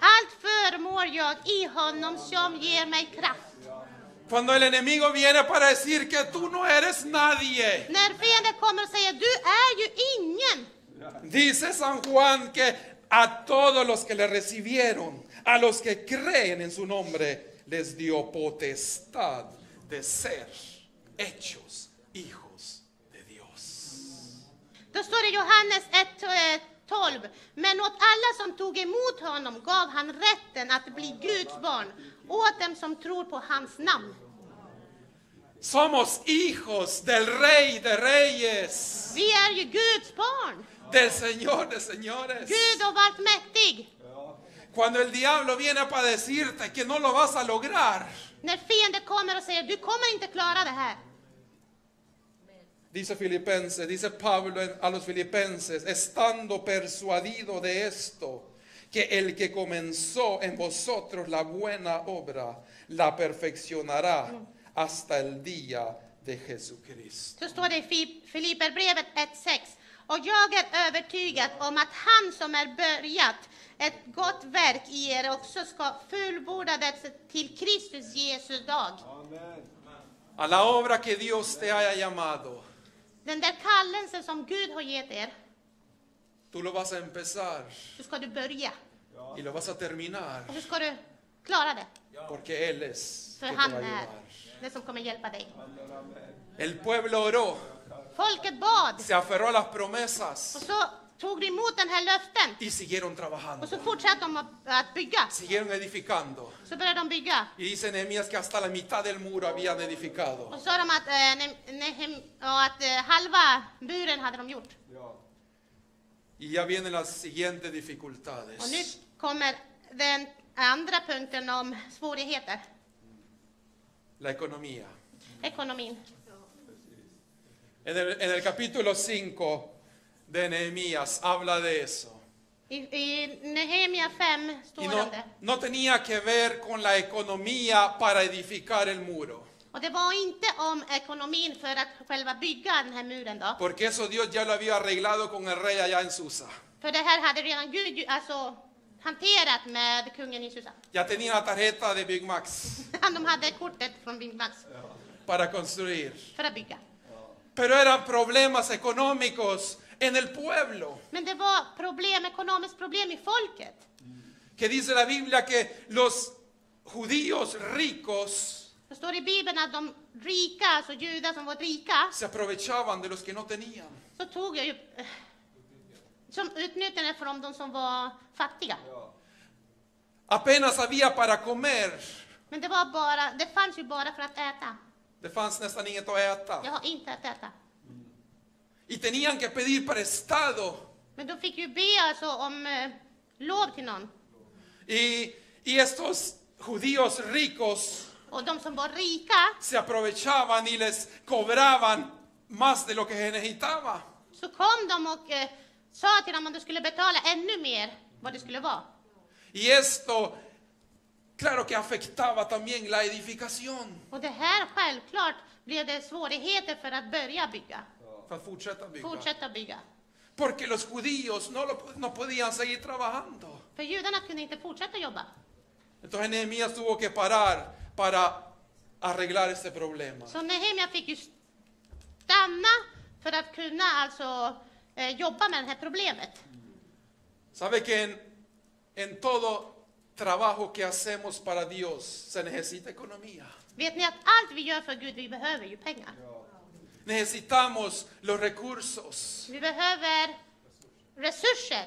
S2: Allt förmår jag i honom som ger mig kraft.
S3: Cuando el enemigo viene para decir que tú no eres nadie,
S2: När fienden kommer och säger du är ju ingen.
S3: dice San Juan que a todos los que le recibieron, a los que creen en su nombre, les dio potestad de ser hechos hijos de Dios.
S2: Då står det i Johannes 1.12. Men åt alla som tog emot honom gav han rätten att bli Guds barn. Åt dem som tror på hans namn.
S3: Somos hijos del Rey de Reyes,
S2: Vi är ju Guds barn.
S3: del Señor de Señores.
S2: Gud har varit mäktig.
S3: Cuando el diablo viene para decirte que no lo vas a lograr,
S2: När fienden kommer och säger du kommer inte klara det här.
S3: Dice Filipenses, dice Pablo en- a los Filipenses, estando persuadido de esto, que el que comenzó en vosotros la buena obra, la perfeccionará hasta el día de Jesucristo.
S2: Så står det i Fi- Filipperbrevet 1.6. Och jag är övertygad om att han som är börjat ett gott verk i er också ska fullborda det till Kristus Jesu dag.
S3: A la obra que Dios te haya llamado,
S2: Den där kallelsen som Gud har gett er,
S3: tú lo vas a empezar
S2: så ska du börja.
S3: y lo vas a terminar
S2: Och så ska du klara det.
S3: porque Él es
S2: För
S3: que te va a
S2: han är
S3: ayudar.
S2: den som kommer hjälpa dig.
S3: El pueblo oró,
S2: Folket bad
S3: se aferró a las
S2: och
S3: promesas
S2: så tog de emot den här löften
S3: y siguieron
S2: och så
S3: trabajando,
S2: fortsatte de att- att bygga.
S3: siguieron edificando.
S2: Så började de bygga.
S3: Y dice Nehemías que hasta la mitad del muro habían edificado.
S2: Och sa de att, eh, ne- Nehem, ja, att eh, halva buren hade de gjort.
S3: Y ya vienen las siguientes
S2: Och nu
S3: dificultades.
S2: kommer den andra punkten om svårigheter.
S3: La economía.
S2: Ekonomin.
S3: En el, en el capítulo 5 de Nehemías habla de eso.
S2: I, i Nehemia 5
S3: Y
S2: står det om
S3: no,
S2: det.
S3: no tenía que ver con la economía para edificar el muro.
S2: Och det var inte om ekonomin för att själva bygga den här muren då.
S3: Porque eso Dios ya lo había arreglado con el rey allá en Susa.
S2: För det här hade redan Gud ju- alltså, hanterat med kungen i Susa.
S3: Ya tenía la tarjeta de Big Max
S2: De hade kortet från Big Max
S3: para construir.
S2: för att bygga.
S3: Pero eran problemas económicos en el pueblo.
S2: Men det var problem, ekonomiskt problem i folket.
S3: Que dice la Biblia que los judíos ricos
S2: Det står i Bibeln att de rika, alltså judar som var rika,
S3: se aprovechaban de los que no tenían.
S2: så tog jag ju... eh, Som utnyttjade från de som var fattiga.
S3: Apenas había para comer.
S2: Men det var bara, det fanns ju bara för att äta.
S3: Det fanns nästan inget att
S2: Jag
S3: äta.
S2: har inte att äta.
S3: eh, Y tenían que pedir prestado.
S2: Men de fick ju be alltså om eh, lov till någon.
S3: Y, y estos judíos ricos
S2: Och de som var rika
S3: se aprovechaban y les cobraban más de lo que se necesitaba.
S2: så kom de och eh, sa till dem att de skulle betala ännu mer vad det skulle vara.
S3: Y esto, claro que afectaba también la edificación.
S2: Och det här självklart blev det svårigheter för att börja bygga,
S3: För att fortsätta bygga.
S2: fortsätta bygga.
S3: Porque los judíos no, lo- no podían seguir trabajando.
S2: För judarna kunde inte fortsätta jobba.
S3: Entonces Nehemías tuvo que parar para arreglar este problema.
S2: Så Nehemia fick ju stanna för att kunna alltså eh, jobba med det här problemet.
S3: ¿Sabe que en, en todo trabajo que hacemos para Dios se necesita economía?
S2: Vet ni att allt vi gör för Gud, vi behöver ju pengar.
S3: Necesitamos los recursos
S2: Vi behöver resurser.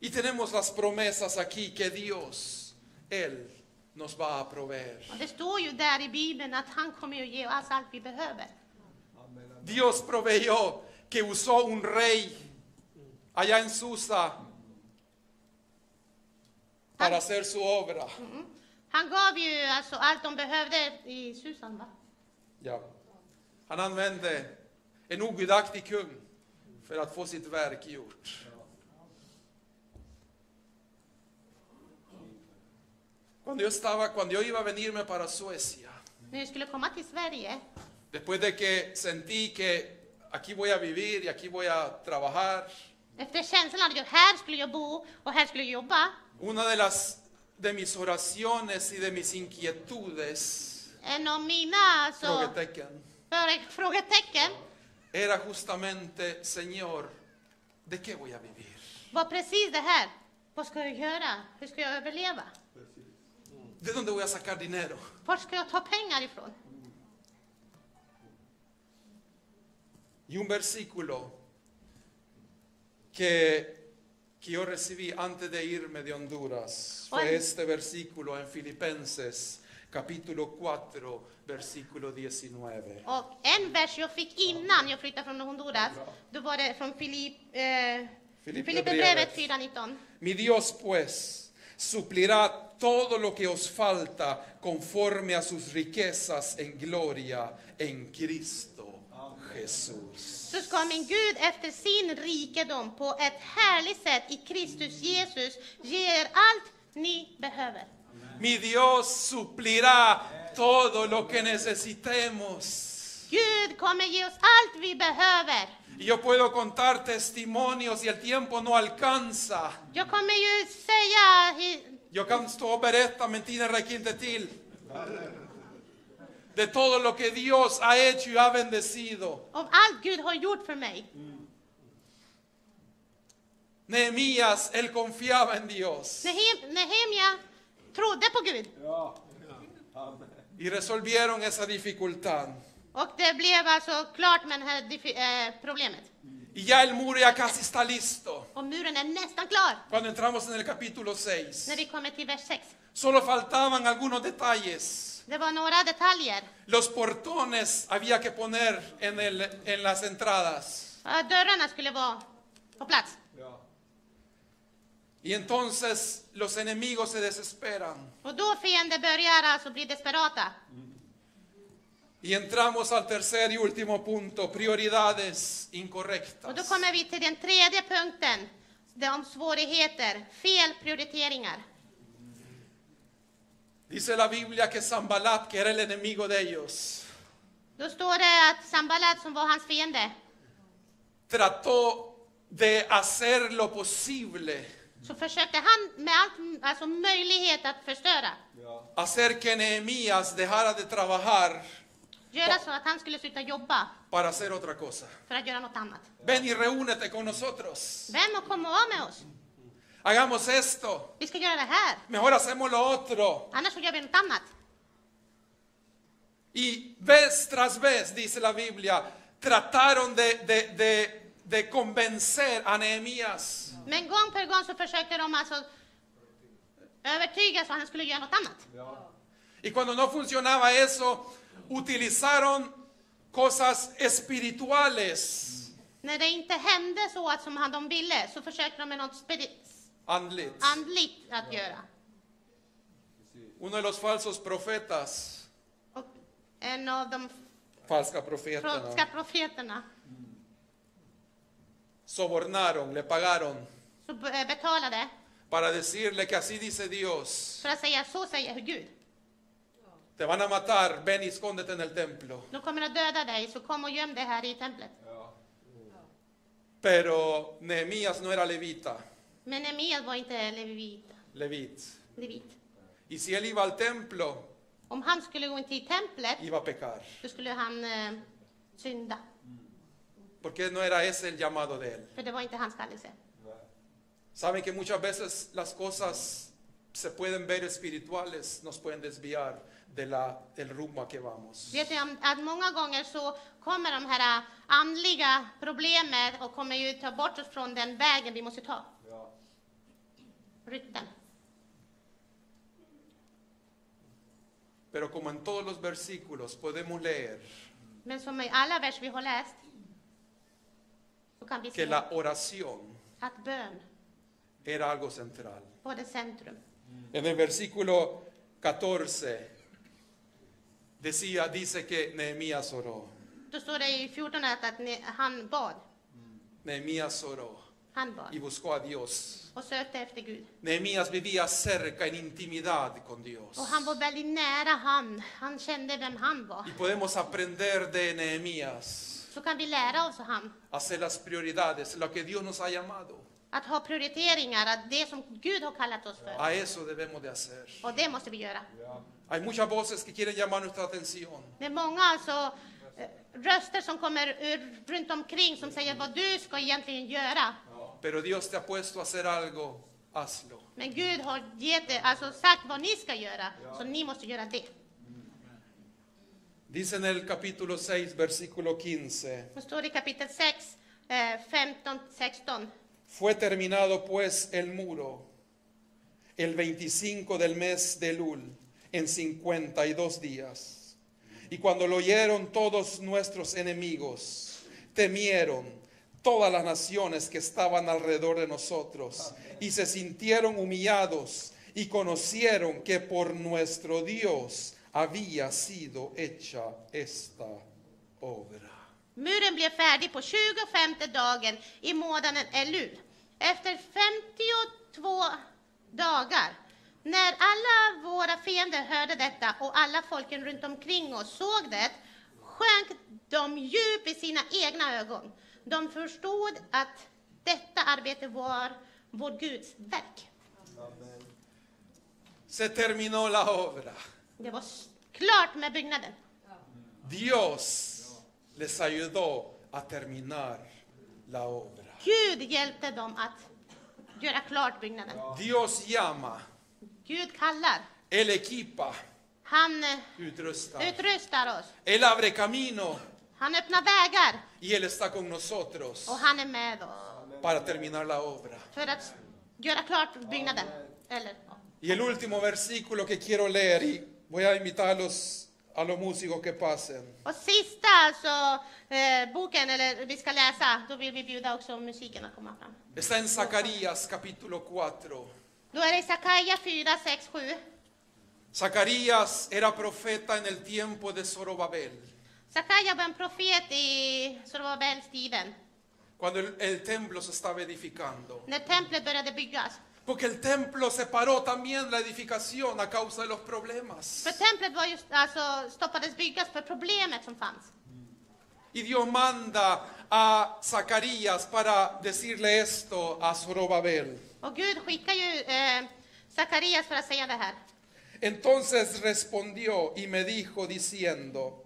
S3: y tenemos las promesas aquí que Dios, Él, nos va a proveer.
S2: Och det står ju där i Bibeln att han kommer ju ge oss allt vi behöver.
S3: Dios proveyó que usó un rey allá en Susa para hacer su obra.
S2: Han gav ju alltså allt de behövde i Susan, va?
S3: Ja. Han använde en ogudaktig kung för att få sitt verk gjort. Cuando yo estaba, cuando yo iba a venirme para Suecia,
S2: När vi skulle komma till Sverige,
S3: después de que sentí que aquí voy a vivir y aquí voy a trabajar,
S2: efter känslan att jag- här skulle jag bo och här skulle jag jobba,
S3: una de las de mis oraciones y de mis inquietudes,
S2: en av mina alltså,
S3: frågetecken,
S2: för- frågetecken
S3: era justamente, Señor, ¿de qué voy a vivir?
S2: var precis det här. Vad ska jag göra? Hur ska jag överleva?
S3: ¿De dónde voy a sacar dinero?
S2: Var ska jag ta pengar ifrån?
S3: Y un versículo que, que yo recibí antes de irme de Honduras fue
S2: Ay.
S3: este versículo en Filipenses capítulo 4, versículo 19.
S2: Och en vers jag fick innan jag flyttade från Honduras, då var det från Filipp, eh, Filipperbrevet 4.19.
S3: Mi Dios pues suplirá todo lo que os falta conforme a sus riquezas en gloria en Cristo Jesús.
S2: Så ska min Gud efter sin rikedom på ett härligt sätt i Kristus Jesus ge er allt ni behöver.
S3: Mi Dios suplirá todo lo que necesitemos.
S2: Gud kommer ge oss allt vi behöver.
S3: Y yo puedo contar testimonios y el tiempo no alcanza. "Oh,
S2: Jag kommer ju säga i-
S3: Jag kan stå och berätta, men tiden räcker inte till. De todo lo que Dios ha hecho y ha bendecido.
S2: om allt Gud har gjort för mig.
S3: Nehemías, él confiaba en Dios.
S2: Nehem- Nehemja trodde på Gud
S3: Y resolvieron esa dificultad.
S2: och det blev alltså klart med det här difi- eh, problemet.
S3: Y ya el muro ya casi está listo.
S2: Och muren är nästan klar
S3: Cuando entramos en el capítulo 6.
S2: när vi kommer till vers 6.
S3: Solo faltaban algunos detalles.
S2: Det var några detaljer.
S3: Los portones había que poner en, el, en las entradas.
S2: Ja, Dörrarna skulle vara på plats.
S3: Y entonces los enemigos se desesperan.
S2: Och då fienden börjar alltså bli desperata.
S3: Y entramos al tercer y último punto, prioridades
S2: Och då
S3: incorrectas.
S2: kommer vi till den tredje punkten, det om svårigheter, fel prioriteringar.
S3: Dice la Biblia que Zambalat, que era el enemigo de ellos,
S2: Då står det att Sambalat som var hans fiende,
S3: trató de hacer lo posible,
S2: så försökte han med allt, alltså möjlighet att förstöra.
S3: hacer que Nehemías dejara de trabajar
S2: Göra så att han skulle sluta jobba
S3: para hacer otra cosa.
S2: för att göra något annat.
S3: Ven y reúnete con nosotros.
S2: Vem och kom och var med oss?
S3: Hagamos esto.
S2: Vi ska göra det här,
S3: Mejor hacemos lo otro.
S2: annars så gör vi något annat.
S3: Y vez tras vez, dice la Biblia, trataron de, de- de- de convencer a Nehemías.
S2: Men gång på gång så försökte de alltså övertyga så att han skulle göra något annat.
S3: Y cuando no funcionaba eso, utilizaron cosas espirituales.
S2: När det inte hände så att som han de ville så försökte de med något spiri-
S3: Andlit,
S2: andligt att göra.
S3: uno de los falsos profetas,
S2: Och en av de
S3: falsa profeta, ¿no?
S2: falska profeterna
S3: sobornaron, le pagaron
S2: så b- eh, betalade
S3: para decirle que así dice Dios,
S2: för att säga så säger Gud.
S3: te van a matar, ven y escóndete en el templo.
S2: De kommer att döda dig så kom och göm dig här i templet.
S3: Pero Nehemías no era levita,
S2: Men Nehemia var inte levit.
S3: levit.
S2: levit.
S3: Y si él iba al templo,
S2: Om han skulle gå in till templet
S3: iba a pecar,
S2: så skulle han eh, synda.
S3: porque no era ese el llamado de él.
S2: För det var inte hans kallelse.
S3: Saben que muchas veces las cosas se pueden ver espirituales, nos pueden desviar de la, del rumbo a que vamos.
S2: Vet ni om- att många gånger så kommer de här eh, andliga problemen och kommer ju ta bort oss från den vägen vi måste ta. Rytten.
S3: Pero como en todos los versículos podemos leer
S2: Men som i alla vers vi har läst så kan vi
S3: que
S2: se
S3: la oración
S2: att bön
S3: era algo central.
S2: var det centrum.
S3: En el versículo 14 decía, dice que Nehemías oró,
S2: Då står det i 14 att, att ni, han bad.
S3: Nehemías oró
S2: Han
S3: y
S2: bad
S3: buscó a Dios.
S2: och sökte efter Gud.
S3: Nehemías vivía cerca en intimidad con Dios.
S2: Och han var väldigt nära han. Han kände vem han var.
S3: Y podemos aprender de Nehemías,
S2: Så kan vi lära oss av han.
S3: hacer las prioridades, lo que Dios nos ha llamado.
S2: Att ha prioriteringar, att det som Gud har kallat oss för.
S3: A eso debemos de hacer.
S2: Och det måste vi göra.
S3: Hay muchas voces que quieren llamar nuestra atención.
S2: Det är många alltså eh, röster som kommer ur, runt omkring som säger vad du ska egentligen göra.
S3: Pero Dios te ha puesto a hacer algo, hazlo.
S2: Men Gud har gett, er- alltså sagt vad ni ska göra, så ni måste göra det.
S3: Dice en el capítulo 6, versículo 15.
S2: Det står i kapitel 6, eh, 15, 16.
S3: Fue terminado pues el muro el 25 del mes de Lul en 52 días. Y cuando lo oyeron todos nuestros enemigos, temieron todas las naciones que estaban alrededor de nosotros y se sintieron humillados y conocieron que por nuestro Dios había sido hecha esta obra.
S2: Muren blev färdig på 25 dagen i månaden Elul. Efter 52 dagar När alla våra fiender hörde detta och alla folken runt omkring oss såg det sjönk de djupt i sina egna ögon. De förstod att detta arbete var vår Guds verk.
S3: Se terminó la obra.
S2: Det var s- klart med byggnaden.
S3: Dios les ayudó a terminar la obra.
S2: Gud hjälpte dem att göra klart byggnaden.
S3: Dios llama,
S2: Gud kallar.
S3: Él equipa,
S2: Han eh,
S3: utrusta,
S2: utrustar oss.
S3: Él abre camino
S2: Han öppnar vägar
S3: y Él está con nosotros
S2: och han är med oss
S3: para terminar la obra.
S2: för att s- göra klart byggnaden. Eller, ja.
S3: Y el último versículo que quiero leer, y voy a invitarlos a los músicos que pasen,
S2: Och sista alltså, eh, boken, eller vi ska läsa, då vill vi bjuda också musiken att komma fram.
S3: está en Zacarías capítulo 4.
S2: Då är det Sakaja 4, 6, 7.
S3: Zacarías era profeta en el tiempo de Zorobabel,
S2: Sakaja var en profet i Zorobabels tiden,
S3: cuando el, el templo se estaba edificando.
S2: när templet började byggas.
S3: Porque el templo se paró también la edificación a causa de los problemas.
S2: För templet var just, alltså, stoppades byggas för problemet som fanns.
S3: Y Dios manda a Zacarías para decirle esto a Zorobabel.
S2: Och Gud skickar ju eh, Sakarias för att säga det här.
S3: Entonces respondió y me dijo diciendo,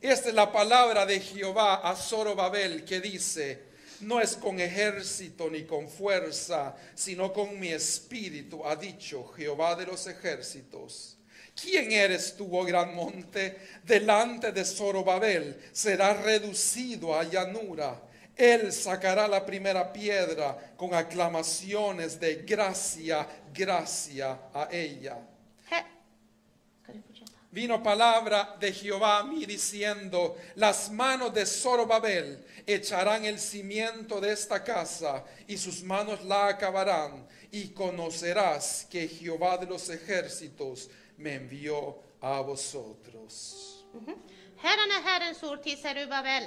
S3: esta es la palabra de Jehová a Zorobabel que dice, no es con ejército ni con fuerza, sino con mi espíritu, ha dicho Jehová de los ejércitos. ¿Quién eres tú, oh gran monte? Delante de Zorobabel será reducido a llanura. Él sacará la primera piedra con aclamaciones de gracia, gracia a ella.
S2: He- Ska du fortsätta?
S3: Vino palabra de Jehová a mí diciendo, las manos de Zorobabel echarán el cimiento de esta casa y sus manos la acabarán y conocerás que Jehová de los ejércitos me envió a vosotros.
S2: Herren är Herrens ord till Zerubabel.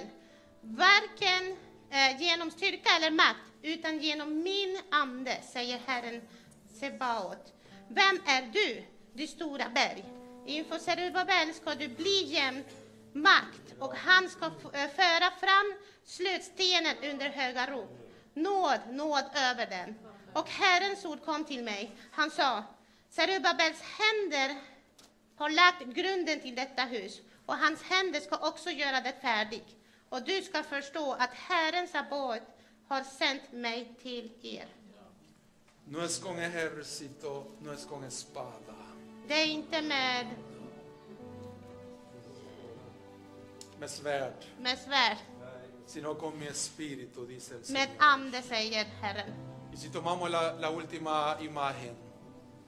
S2: Varken eh, genom styrka eller makt, utan genom min ande, säger Herren Sebaot. Vem är du, du stora berg? Inför Zerubabel ska du bli jämt makt och han ska f- eh, föra fram slutstenen under höga rop. Nåd, nåd över den. Och Herrens ord kom till mig. Han sa, Zerubabels händer har lagt grunden till detta hus och hans händer ska också göra det färdigt. Och du ska förstå att Herren Sabaot har sänt mig till er.
S3: No es con ejército, no es con espada.
S2: Det är inte med,
S3: Med svärd,
S2: med svärd,
S3: sino con mi espíritu, dice el
S2: med
S3: Señor.
S2: ande, säger Herren.
S3: Y si tomamos la, la última imagen,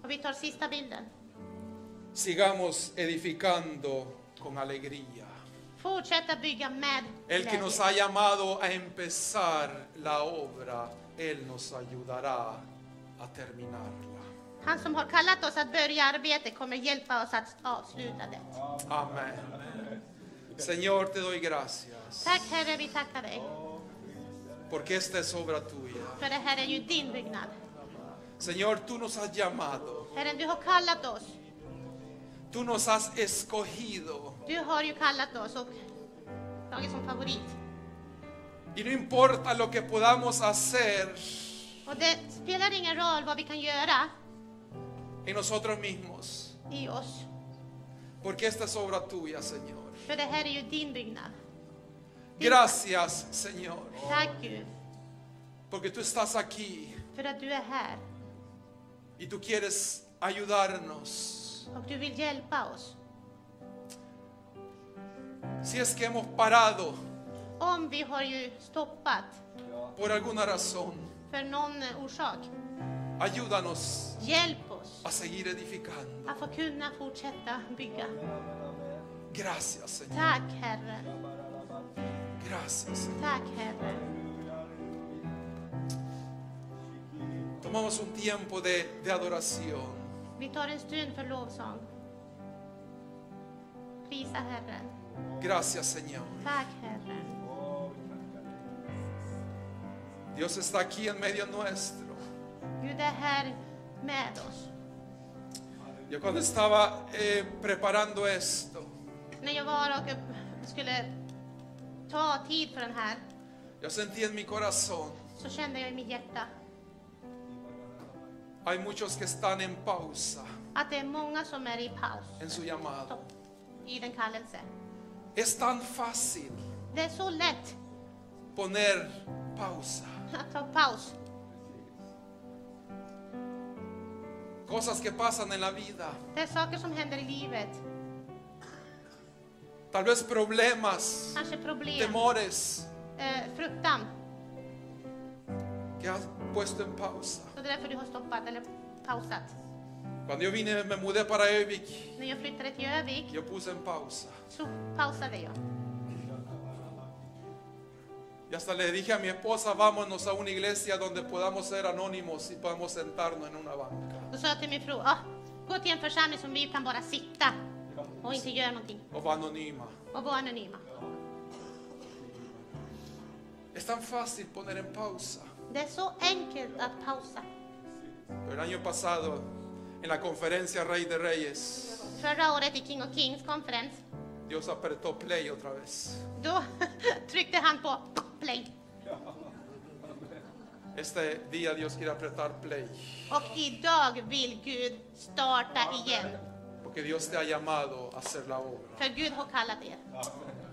S2: Och vi tar sista bilden.
S3: sigamos edificando con alegría.
S2: Fortsätta bygga med
S3: El que
S2: glädje.
S3: nos ha llamado a empezar la obra, Él nos ayudará a terminarla.
S2: Han som har kallat oss att börja arbetet kommer hjälpa oss att avsluta det.
S3: Amén. Señor, te doy gracias
S2: Tack Herre, vi tackar dig.
S3: porque esta es obra tuya.
S2: För det här är ju din byggnad.
S3: Señor, tú nos has llamado,
S2: Herren, du har kallat oss.
S3: tú nos has escogido
S2: Du har ju kallat oss och tagit som favorit.
S3: y no importa lo que podamos hacer
S2: Och det spelar ingen roll vad vi kan göra
S3: en nosotros mismos,
S2: i oss,
S3: porque esta es obra tuya, Señor.
S2: för det här är ju din byggnad.
S3: Gracias, Señor,
S2: Tack Gud,
S3: porque tú estás aquí
S2: för att du är här
S3: y tú quieres ayudarnos.
S2: och du vill hjälpa oss.
S3: Si es que hemos parado
S2: Om vi har ju stoppat
S3: por alguna razón,
S2: för någon orsak,
S3: ayúdanos
S2: hjälp oss
S3: a seguir edificando.
S2: att få kunna fortsätta bygga.
S3: Gracias, Señor.
S2: Tack Herre,
S3: Gracias. Señor.
S2: tack Herre.
S3: Tomamos un tiempo de, de adoración.
S2: Vi tar en stund för lovsång. Prisa Herren,
S3: Gracias, Señor.
S2: tack Herre.
S3: Dios está aquí en medio nuestro.
S2: Gud är här med oss.
S3: Yo cuando estaba eh, preparando esto,
S2: När jag var och skulle ta tid för den här
S3: yo sentí en mi corazón,
S2: så kände jag i mitt hjärta
S3: hay muchos que están en pausa
S2: att det är många som är i paus
S3: en su llamado.
S2: i den kallelse.
S3: Es tan fácil
S2: Det är så lätt
S3: poner pausa.
S2: att ta paus.
S3: Cosas que pasan en la vida,
S2: Det är saker som händer i livet,
S3: tal vez problemas,
S2: kanske problem,
S3: temores
S2: eh, fruktan.
S3: que has puesto en pausa.
S2: Så det är därför du har stoppat eller pausat.
S3: Cuando yo vine, me mudé para Evik,
S2: När jag flyttade till Övik
S3: yo puse en pausa.
S2: så pausade jag.
S3: Y hasta le dije a mi esposa, vámonos a una iglesia donde podamos ser anónimos y podamos sentarnos en una banca.
S2: Då sa jag till min fru, "Ah, gå till en församling som vi kan bara sitta och inte göra någonting
S3: O va anónima.
S2: och vara anonyma.
S3: Es tan fácil poner en pausa.
S2: Det är så enkelt att pausa.
S3: Pero el año pasado, en la conferencia Rey de Reyes,
S2: Förra året i King of Kings konferens,
S3: Dios apretó play otra vez.
S2: då tryckte han på play.
S3: Este día Dios quiere apretar play.
S2: Och idag vill Gud starta igen.
S3: Porque Dios te ha llamado a hacer la obra.
S2: För Gud har kallat er.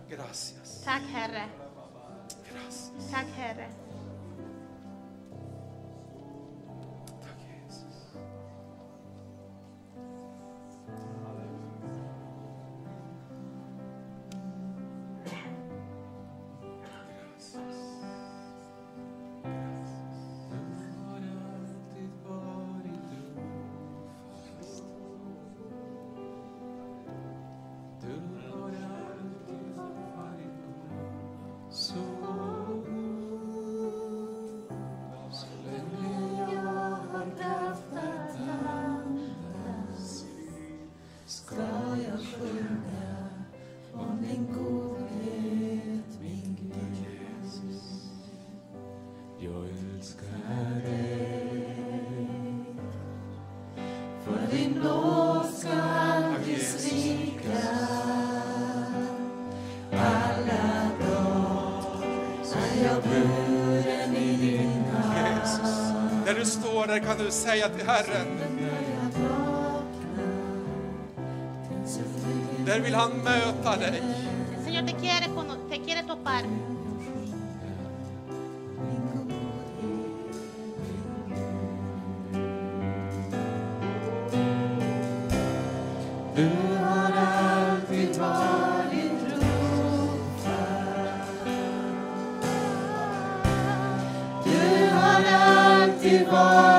S3: Gracias.
S2: Tack Herre.
S3: Gracias.
S2: Tack Herre.
S3: Tack, Jesus.
S4: Jag älskar dig För din nåd ska aldrig svika Alla dagar är jag buren i din hand
S3: Jesus. Där du står, där kan du säga till Herren,
S4: När jag vaknar finns jag fri
S3: där vill han möta dig.
S2: Señor, te quiere, cono- te quiere topar.
S4: Du har alltid varit trofast. Du har alltid varit